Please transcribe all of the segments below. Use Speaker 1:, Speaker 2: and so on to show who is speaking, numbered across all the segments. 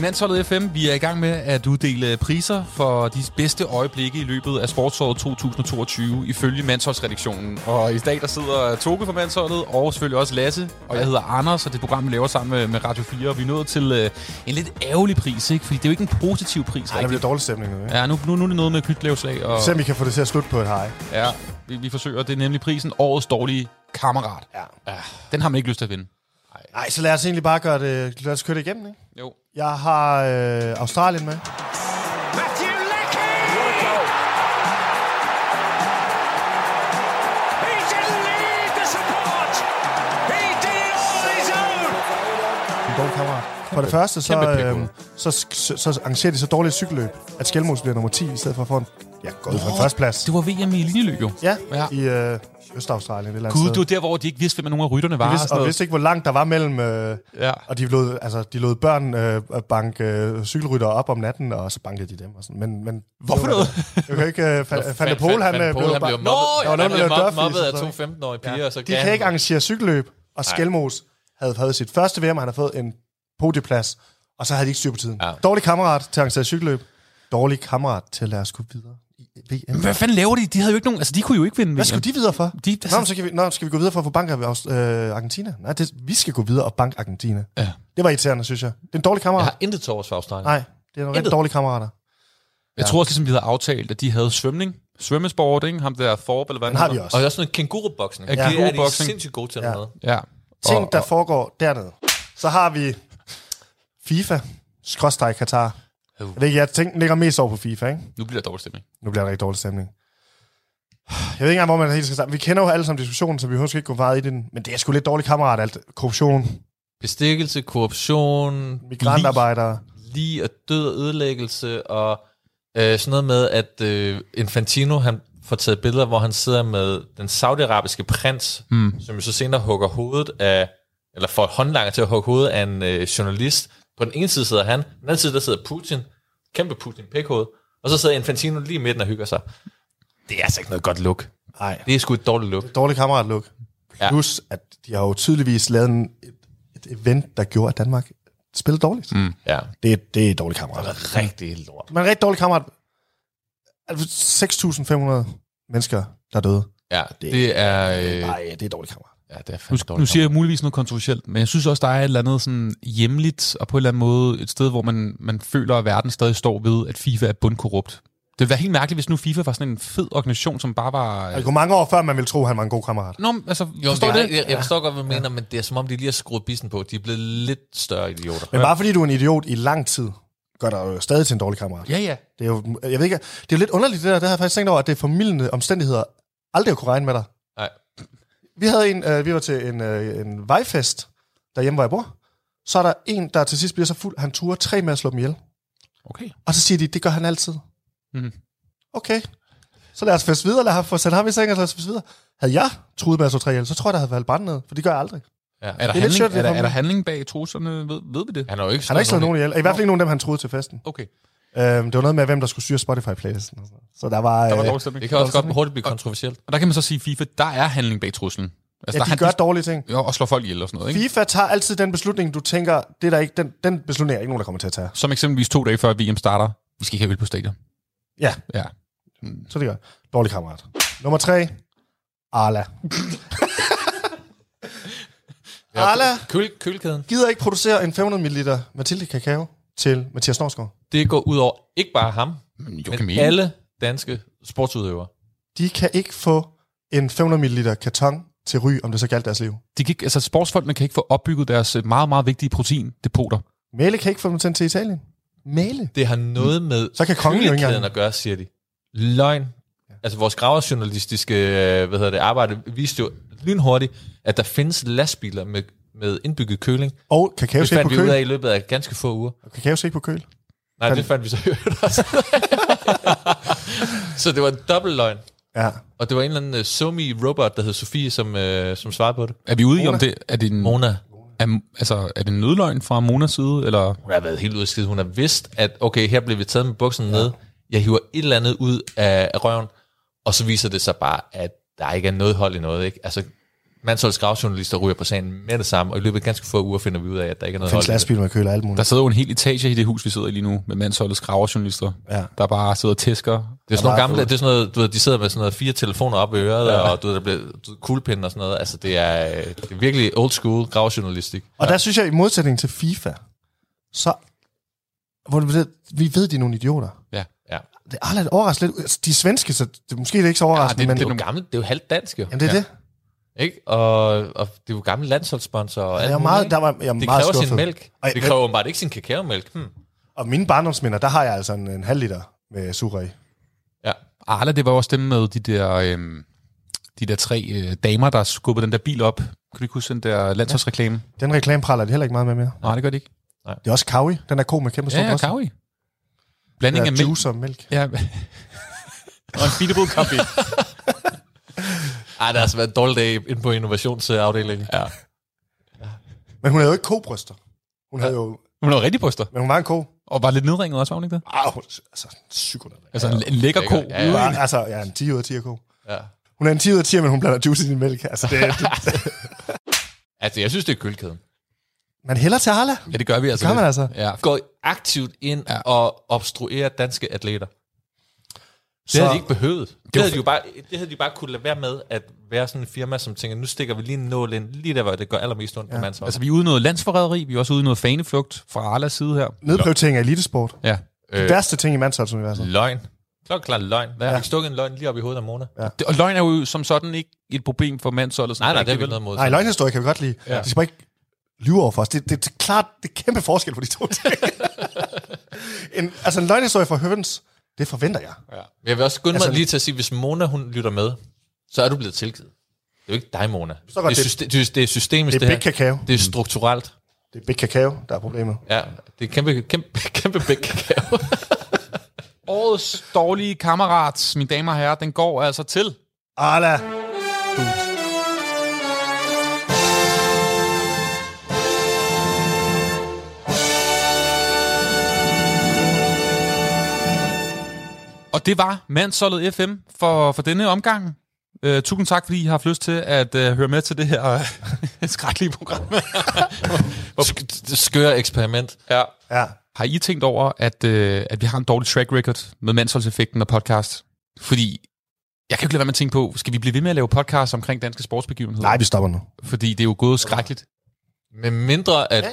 Speaker 1: Landsholdet FM. Vi er i gang med at uddele priser for de bedste øjeblikke i løbet af sportsåret 2022 ifølge Mandsholdsredaktionen. Og i dag der sidder Toge fra Mandsholdet og selvfølgelig også Lasse. Og jeg hedder Anders, og det program, vi laver sammen med- med Radio 4. Og vi er nået til øh, en lidt ærgerlig pris, ikke? Fordi det er jo ikke en positiv pris.
Speaker 2: Ej, der
Speaker 1: rigtig.
Speaker 2: bliver dårlig stemning nu, ikke?
Speaker 1: Ja, nu, nu, nu er det noget med knytlævslag. Og,
Speaker 2: Se om vi kan få det til at slutte på et hej.
Speaker 1: ja, vi, vi forsøger. Det er nemlig prisen Årets Dårlige Kammerat.
Speaker 2: Ja.
Speaker 1: Den har man ikke lyst til at vinde.
Speaker 2: Nej, så lad os egentlig bare gøre det, lad os køre det igennem, ikke?
Speaker 1: Jo.
Speaker 2: Jeg har øh, Australien med.
Speaker 3: Matthew Leckie! He didn't need the support. He did it all on his own.
Speaker 2: En god kammerat. For det første, så,
Speaker 1: kæmpe pick-up.
Speaker 2: øh, så, så, så arrangerer de så dårligt et cykelløb, at Skelmos bliver nummer 10 i stedet for at få en, ja, godt, for en førsteplads.
Speaker 1: Det var VM i linjeløb, jo.
Speaker 2: Ja,
Speaker 1: Ja.
Speaker 2: ja. i øh, Østaustralien. Et eller andet
Speaker 1: Gud,
Speaker 2: sted.
Speaker 1: det var der, hvor de ikke vidste, hvem af nogle af rytterne var.
Speaker 2: De
Speaker 1: og
Speaker 2: vidste,
Speaker 1: sådan
Speaker 2: og
Speaker 1: noget.
Speaker 2: vidste ikke, hvor langt der var mellem... Øh,
Speaker 1: Ja.
Speaker 2: Og de lod, altså, de lod børn øh, at banke øh, cykelrytter op om natten, og så bankede de dem. Og sådan. Men, men,
Speaker 1: Hvorfor
Speaker 2: det var-
Speaker 1: noget?
Speaker 2: Jeg kan ikke... Øh, Fan- Fante Pol, han, øh, blev... bare- Nå, der
Speaker 4: han blev mobbet,
Speaker 2: var nogen,
Speaker 4: han
Speaker 2: der
Speaker 4: blev
Speaker 2: blev
Speaker 4: mob-
Speaker 2: dørfis
Speaker 4: mobbet
Speaker 2: og
Speaker 4: af
Speaker 2: sådan
Speaker 4: to
Speaker 2: noget.
Speaker 4: 15-årige piger, og så
Speaker 2: De
Speaker 4: gav
Speaker 2: kan
Speaker 4: han-
Speaker 2: ikke arrangere cykelløb, og Skelmos havde fået sit første VM, og han havde fået en podieplads, og så havde de ikke styr på tiden.
Speaker 4: Ja.
Speaker 2: Dårlig kammerat til at arrangere cykelløb. Dårlig kammerat til at lade os gå videre i VM.
Speaker 1: Hvad fanden laver de? De havde jo ikke nogen... Altså, de kunne jo ikke vinde
Speaker 2: Hvad skulle de videre for?
Speaker 1: De-
Speaker 2: De, altså, nå, men så kan vi, nå, skal vi gå videre for at få bank af Aus- øh, Argentina? Nej, det, vi skal gå videre og bank Argentina.
Speaker 1: Ja.
Speaker 2: Det var irriterende, synes jeg. Det er en dårlig kammerat.
Speaker 4: Jeg har intet til års for Australien.
Speaker 2: Nej, det er nogle rigtig
Speaker 4: Intet.
Speaker 2: dårlige kammerater.
Speaker 1: Jeg tror også, ligesom, vi havde aftalt, at de havde svømning. Svømmesport, ikke? Ham der Forb, eller hvad han
Speaker 2: har vi
Speaker 1: hedder.
Speaker 4: Og
Speaker 2: også.
Speaker 4: der er sådan en kænguruboksning.
Speaker 1: Ja,
Speaker 4: Ja, det er de
Speaker 1: kænguruboksning.
Speaker 4: sindssygt gode til
Speaker 2: Ja.
Speaker 4: ja. noget.
Speaker 1: Ja.
Speaker 2: Ting,
Speaker 1: Og-
Speaker 2: der foregår dernede. Så har vi FIFA, skråstrej Katar.
Speaker 1: Uh.
Speaker 4: Jo.
Speaker 2: Det er ikke, jeg tænker, den ligger mest over på FIFA, ikke?
Speaker 1: Nu bliver der dårlig stemning.
Speaker 2: Nu bliver der rigtig dårlig stemning. Jeg ved ikke engang, hvor man helt skal starte. Vi kender jo alle sammen diskussionen, så vi husker ikke gå meget i den. Men det er sgu lidt dårligt kammerat, alt. Korruption,
Speaker 4: Bestikkelse, korruption,
Speaker 2: migrantarbejdere.
Speaker 4: lige og død og ødelæggelse, og øh, sådan noget med, at øh, Infantino han får taget billeder, hvor han sidder med den saudiarabiske prins, mm. som jo så senere hugger hovedet af, eller får håndlanger til at hugge hovedet af en øh, journalist. På den ene side sidder han, på den anden side der sidder Putin, kæmpe Putin, pikhoved, og så sidder Infantino lige i midten og hygger sig. Det er altså ikke noget godt look.
Speaker 2: Nej.
Speaker 4: Det er sgu et dårligt look.
Speaker 2: Dårlig kammerat, Luk.
Speaker 4: Ja.
Speaker 2: Plus, at de har jo tydeligvis lavet en, et, et event, der gjorde, at Danmark spillede dårligt. Mm.
Speaker 4: Ja,
Speaker 2: Det, det er dårlig kammerat.
Speaker 4: rigtig lort.
Speaker 2: Men en rigtig dårlig kammerat. Altså, 6.500 mennesker, der er døde.
Speaker 4: Ja, det er... Øh,
Speaker 2: Nej, det er dårlig kammerat.
Speaker 4: ja, det er fandme
Speaker 1: Nu, nu
Speaker 4: dårligt.
Speaker 1: siger jeg muligvis noget kontroversielt, men jeg synes også, der er et eller andet sådan hjemligt, og på en eller anden måde et sted, hvor man, man føler, at verden stadig står ved, at FIFA er bundkorrupt. Det ville være helt mærkeligt, hvis nu FIFA var sådan en fed organisation, som bare var...
Speaker 2: Det går Altså, mange år før, man ville tro, at han var en god kammerat.
Speaker 1: Nå, men altså,
Speaker 4: Jo,
Speaker 1: forstår
Speaker 4: det,
Speaker 1: det?
Speaker 4: det? Jeg, jeg forstår godt, hvad du mener, men det er som om, de lige har skruet bissen på. De er blevet lidt større idioter.
Speaker 2: Men bare fordi du er en idiot i lang tid, gør dig jo stadig til en dårlig kammerat.
Speaker 1: Ja, ja.
Speaker 2: Det er jo, jeg ved ikke, det er jo lidt underligt det der, det har jeg faktisk tænkt over, at det er formidlende omstændigheder aldrig at kunne regne med dig.
Speaker 4: Nej.
Speaker 2: Vi havde en, øh, vi var til en, øh, en vejfest derhjemme, hvor jeg bor. Så er der en, der til sidst bliver så fuld, han turer tre med at slå dem ihjel.
Speaker 1: Okay.
Speaker 2: Og så siger de, det gør han altid.
Speaker 1: Mhm.
Speaker 2: Okay. Så lad os feste videre, lad os få sendt ham i seng, og så lad os feste videre. Havde jeg truet med at slå tre ihjel, så tror jeg, der havde været brændt ned, for det gør jeg aldrig.
Speaker 4: Ja.
Speaker 1: Er der,
Speaker 2: lidt
Speaker 1: handling,
Speaker 2: sjovt, det
Speaker 1: er, der,
Speaker 2: kommer-
Speaker 1: er der handling bag truslerne? Ved, ved vi det?
Speaker 4: Han har jo ikke
Speaker 2: Han har ikke slået
Speaker 4: nogen
Speaker 2: nogen ihjel. I hvert fald ikke nogen af dem, han troede til festen.
Speaker 1: Okay.
Speaker 2: Øhm, det var noget med, hvem der skulle styre Spotify-playlisten. og sådan noget. Så der var...
Speaker 1: Der var
Speaker 2: øh,
Speaker 1: dårlig
Speaker 4: i.
Speaker 1: stemning.
Speaker 4: Det kan også godt hurtigt blive kontroversielt.
Speaker 1: Og der kan man så sige, FIFA, der er handling bag truslen. Altså,
Speaker 2: ja,
Speaker 1: der
Speaker 2: de gør dårlige ting.
Speaker 1: Jo, og slår folk ihjel og sådan noget, ikke?
Speaker 2: FIFA tager altid den beslutning, du tænker, det er der ikke, den, den beslutning er der ikke nogen, der kommer til at tage.
Speaker 1: Som eksempelvis to dage før VM starter. Vi skal ikke have øl på stadion.
Speaker 2: Ja,
Speaker 1: Ja.
Speaker 2: så det gør jeg. Dårlig kammerat. Nummer tre. Arla. Arla
Speaker 4: Køl, kølkæden,
Speaker 2: gider ikke producere en 500 ml Mathilde Kakao til Mathias Norsgaard.
Speaker 4: det går ud over ikke bare ham,
Speaker 1: Jo,
Speaker 4: men
Speaker 1: kan
Speaker 4: okay. alle danske sportsudøvere.
Speaker 2: De kan ikke få en 500 ml karton til ry, om det så galt deres liv.
Speaker 1: De kan ikke, altså, sportsfolkene kan ikke få opbygget deres øh, meget, meget vigtige proteindepoter.
Speaker 2: Mæle kan ikke få dem sendt til Italien. Mæle?
Speaker 4: Det har noget med
Speaker 2: Så kan kongen jo ikke
Speaker 4: kølekæden
Speaker 2: engang-
Speaker 4: at gøre, siger de. Løgn. Altså vores graverjournalistiske øh, hvad hedder det, arbejde viste jo lynhurtigt, at der findes lastbiler med, med indbygget køling.
Speaker 2: Og kakao
Speaker 4: Det
Speaker 2: skal
Speaker 4: fandt
Speaker 2: ikke
Speaker 4: vi
Speaker 2: på
Speaker 4: ud af
Speaker 2: køl.
Speaker 4: i løbet af ganske få uger.
Speaker 2: Kakao skal ikke på køl.
Speaker 4: Nej,
Speaker 2: Fandt-
Speaker 4: det fandt vi så i øvrigt også. så det var en dobbelt løgn.
Speaker 2: Ja.
Speaker 4: Og det var en eller anden uh, somi robot der hed Sofie, som, uh, som svarede på det.
Speaker 1: Er vi ude i, om det er det en,
Speaker 4: Mona.
Speaker 1: er, altså, er det en nødløgn fra Monas side? Eller?
Speaker 4: Hun har været helt udskidt. Hun har vidst, at okay, her blev vi taget med bukserne ja. ned. Jeg hiver et eller andet ud af, af røven. Og så viser det sig bare, at der ikke er noget hold i noget. Ikke? Altså, Mansholds gravjournalister ryger på sagen med det samme, og i løbet af ganske få uger finder vi ud af, at der ikke er noget
Speaker 2: findes
Speaker 4: hold i det.
Speaker 2: lastbiler med køler og alt
Speaker 1: Der
Speaker 2: muligt.
Speaker 1: sidder jo en hel etage i det hus, vi sidder i lige nu, med mandsholdets graverjournalister,
Speaker 2: Ja.
Speaker 1: der bare sidder og tæsker.
Speaker 4: Det er sådan nogle
Speaker 2: bare
Speaker 4: gamle, det er sådan noget, du ved, de sidder med sådan noget fire telefoner op i øret, ja. og du ved, der bliver du ved, kuglepinden og sådan noget. Altså, det er, øh, det er virkelig old school gravjournalistik.
Speaker 2: Og der synes jeg, i modsætning til FIFA, så... Hvor vi ved, vi ved, de er nogle idioter.
Speaker 1: Ja.
Speaker 4: Ja. Ah,
Speaker 2: Det er aldrig overraskende lidt. Altså, De er svenske, så det, måske er det ikke så overraskende,
Speaker 4: det,
Speaker 2: Altså, men...
Speaker 4: det, er jo gammel, det er jo halvt dansk, jo.
Speaker 2: Jamen, det er
Speaker 1: Ja.
Speaker 2: det.
Speaker 4: Ikke? Og, og det er jo gamle landsholdssponsor og alt
Speaker 2: Jeg er
Speaker 4: muligt,
Speaker 2: meget,
Speaker 4: ikke?
Speaker 2: der var, jeg er
Speaker 4: Det
Speaker 2: meget
Speaker 4: kræver sin
Speaker 2: skuffet.
Speaker 4: mælk.
Speaker 2: Ej,
Speaker 4: det
Speaker 2: men-
Speaker 4: kræver åbenbart ikke sin kakaomælk. Hmm.
Speaker 2: Og mine barndomsminder, der har jeg altså en, en halv liter med sukker i.
Speaker 4: Ja.
Speaker 1: Arla, det var også dem med de der, øhm, de der tre øh, damer, der skubbede den der bil op. Kan du ikke huske den der landsholdsreklame?
Speaker 2: Den reklame praller det heller ikke meget med mere.
Speaker 1: Ja. Nej, det gør det ikke.
Speaker 2: Det er også kawi. Den er ko med kæmpe stor
Speaker 1: Ja, ja,
Speaker 2: bryst.
Speaker 1: kawi. Blanding af
Speaker 2: Den er
Speaker 1: mælk.
Speaker 2: juice og mælk.
Speaker 1: Ja. Og en beatable coffee.
Speaker 4: Ej, det har altså været en dårlig dag inde på innovationsafdelingen. Ja.
Speaker 2: Men hun havde jo ikke kobryster. Hun havde jo...
Speaker 1: Hun har rigtig bryster.
Speaker 2: Men hun var en ko.
Speaker 1: Og var lidt nedringet også, var hun ikke det?
Speaker 2: Arh, hun, altså, psykopat.
Speaker 1: Altså en, en lækker ko.
Speaker 4: Lækker, ja, ja.
Speaker 2: Hun var- Altså, ja, en 10 ud af 10 er ko.
Speaker 4: ja.
Speaker 2: Hun er en 10 ud af 10, men hun blander juice i sin mælk. Altså, det, det,
Speaker 4: Altså, jeg synes, det er kølkæden.
Speaker 2: man hælder til Arla.
Speaker 1: ja, det gør vi altså.
Speaker 2: gør man
Speaker 1: lidt.
Speaker 2: altså.
Speaker 1: Ja.
Speaker 4: Går aktivt ind ja. og obstruerer danske atleter. Det
Speaker 2: Så-
Speaker 4: havde de ikke behøvet. Det,
Speaker 1: var
Speaker 4: det, havde de jo bare, det havde de bare kunne lade være med at være sådan en firma, som tænker, nu stikker vi lige en nål ind, lige der, hvor det gør allermest ondt ja. på mandshold.
Speaker 1: Altså, vi er ude i noget landsforræderi, vi er også ude i noget faneflugt fra Arlas side her.
Speaker 2: Nedprioritering af elitesport.
Speaker 1: Ja.
Speaker 2: Øh.
Speaker 4: øh,
Speaker 2: Værste ting i mandsholdsuniverset.
Speaker 4: løgn. Klokkeklar løgn. Hvad, ja. Har vi stukket en løgn lige op i hovedet af Mona? Ja.
Speaker 1: Det, og løgn er jo som sådan ikke et problem for mandsholdet. sådan
Speaker 4: Nej, nej, det er vi
Speaker 1: rigtig,
Speaker 4: ikke noget mod.
Speaker 2: Nej, løgnhistorie kan vi godt lide. Ja. De skal bare ikke lyve over for os. Det, det, det er klart, det er kæmpe forskel på de to ting. en, altså en løgnhistorie fra Høvens, det forventer jeg.
Speaker 4: Ja. Men Jeg vil også skynde altså,
Speaker 2: Altså-
Speaker 4: mig lige til at sige, hvis Mona hun lytter med, så er du blevet tilgivet. Det er jo ikke dig, Mona. Det er,
Speaker 2: godt,
Speaker 4: syste- det, er- det er systemisk,
Speaker 2: Det
Speaker 4: det,
Speaker 2: er big
Speaker 4: her.
Speaker 2: kakao.
Speaker 4: Det er strukturelt.
Speaker 2: Det er big kakao, der er problemet.
Speaker 4: Ja, det er kæmpe, kæmpe, kæmpe big kakao.
Speaker 1: Årets dårlige kammerat, mine damer og herrer, den går altså til.
Speaker 2: Arla!
Speaker 1: Og det var Mandsholdet FM for, for denne omgang. Øh, tusind tak, fordi I har haft lyst til at øh, høre med til det her øh, skrækkelige program.
Speaker 4: Sk- skøre eksperiment.
Speaker 1: ja.
Speaker 2: Ja.
Speaker 1: Har I tænkt over, at, øh, at vi har en dårlig track record med Mandsholdseffekten og podcast? Fordi jeg kan jo ikke lade være med at tænke på, skal vi blive ved med at lave podcast omkring danske sportsbegivenheder?
Speaker 2: Nej, vi stopper nu.
Speaker 1: Fordi det er jo gået skrækkeligt.
Speaker 4: Med mindre, at
Speaker 2: Ja.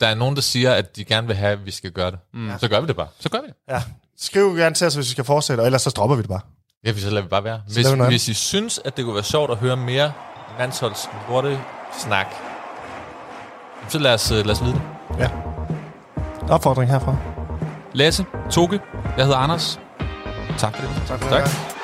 Speaker 4: der er nogen, der siger, at de gerne vil have, at vi skal gøre det. Mm. Så gør vi det bare.
Speaker 1: Så gør vi det.
Speaker 2: Ja. Skriv gerne til os, hvis vi skal fortsætte, og ellers så dropper vi det bare.
Speaker 4: Ja, så lader vi bare være.
Speaker 2: lader vi
Speaker 4: Hvis,
Speaker 2: noget
Speaker 4: hvis I synes, at det kunne være sjovt at høre mere landsholds lorte snak, så lad os, øh, lad os vide det.
Speaker 2: Ja. Opfordring herfra.
Speaker 1: Lasse, Toke, jeg hedder Anders. Tak for det.
Speaker 2: Tak.
Speaker 4: Tak.
Speaker 2: tak.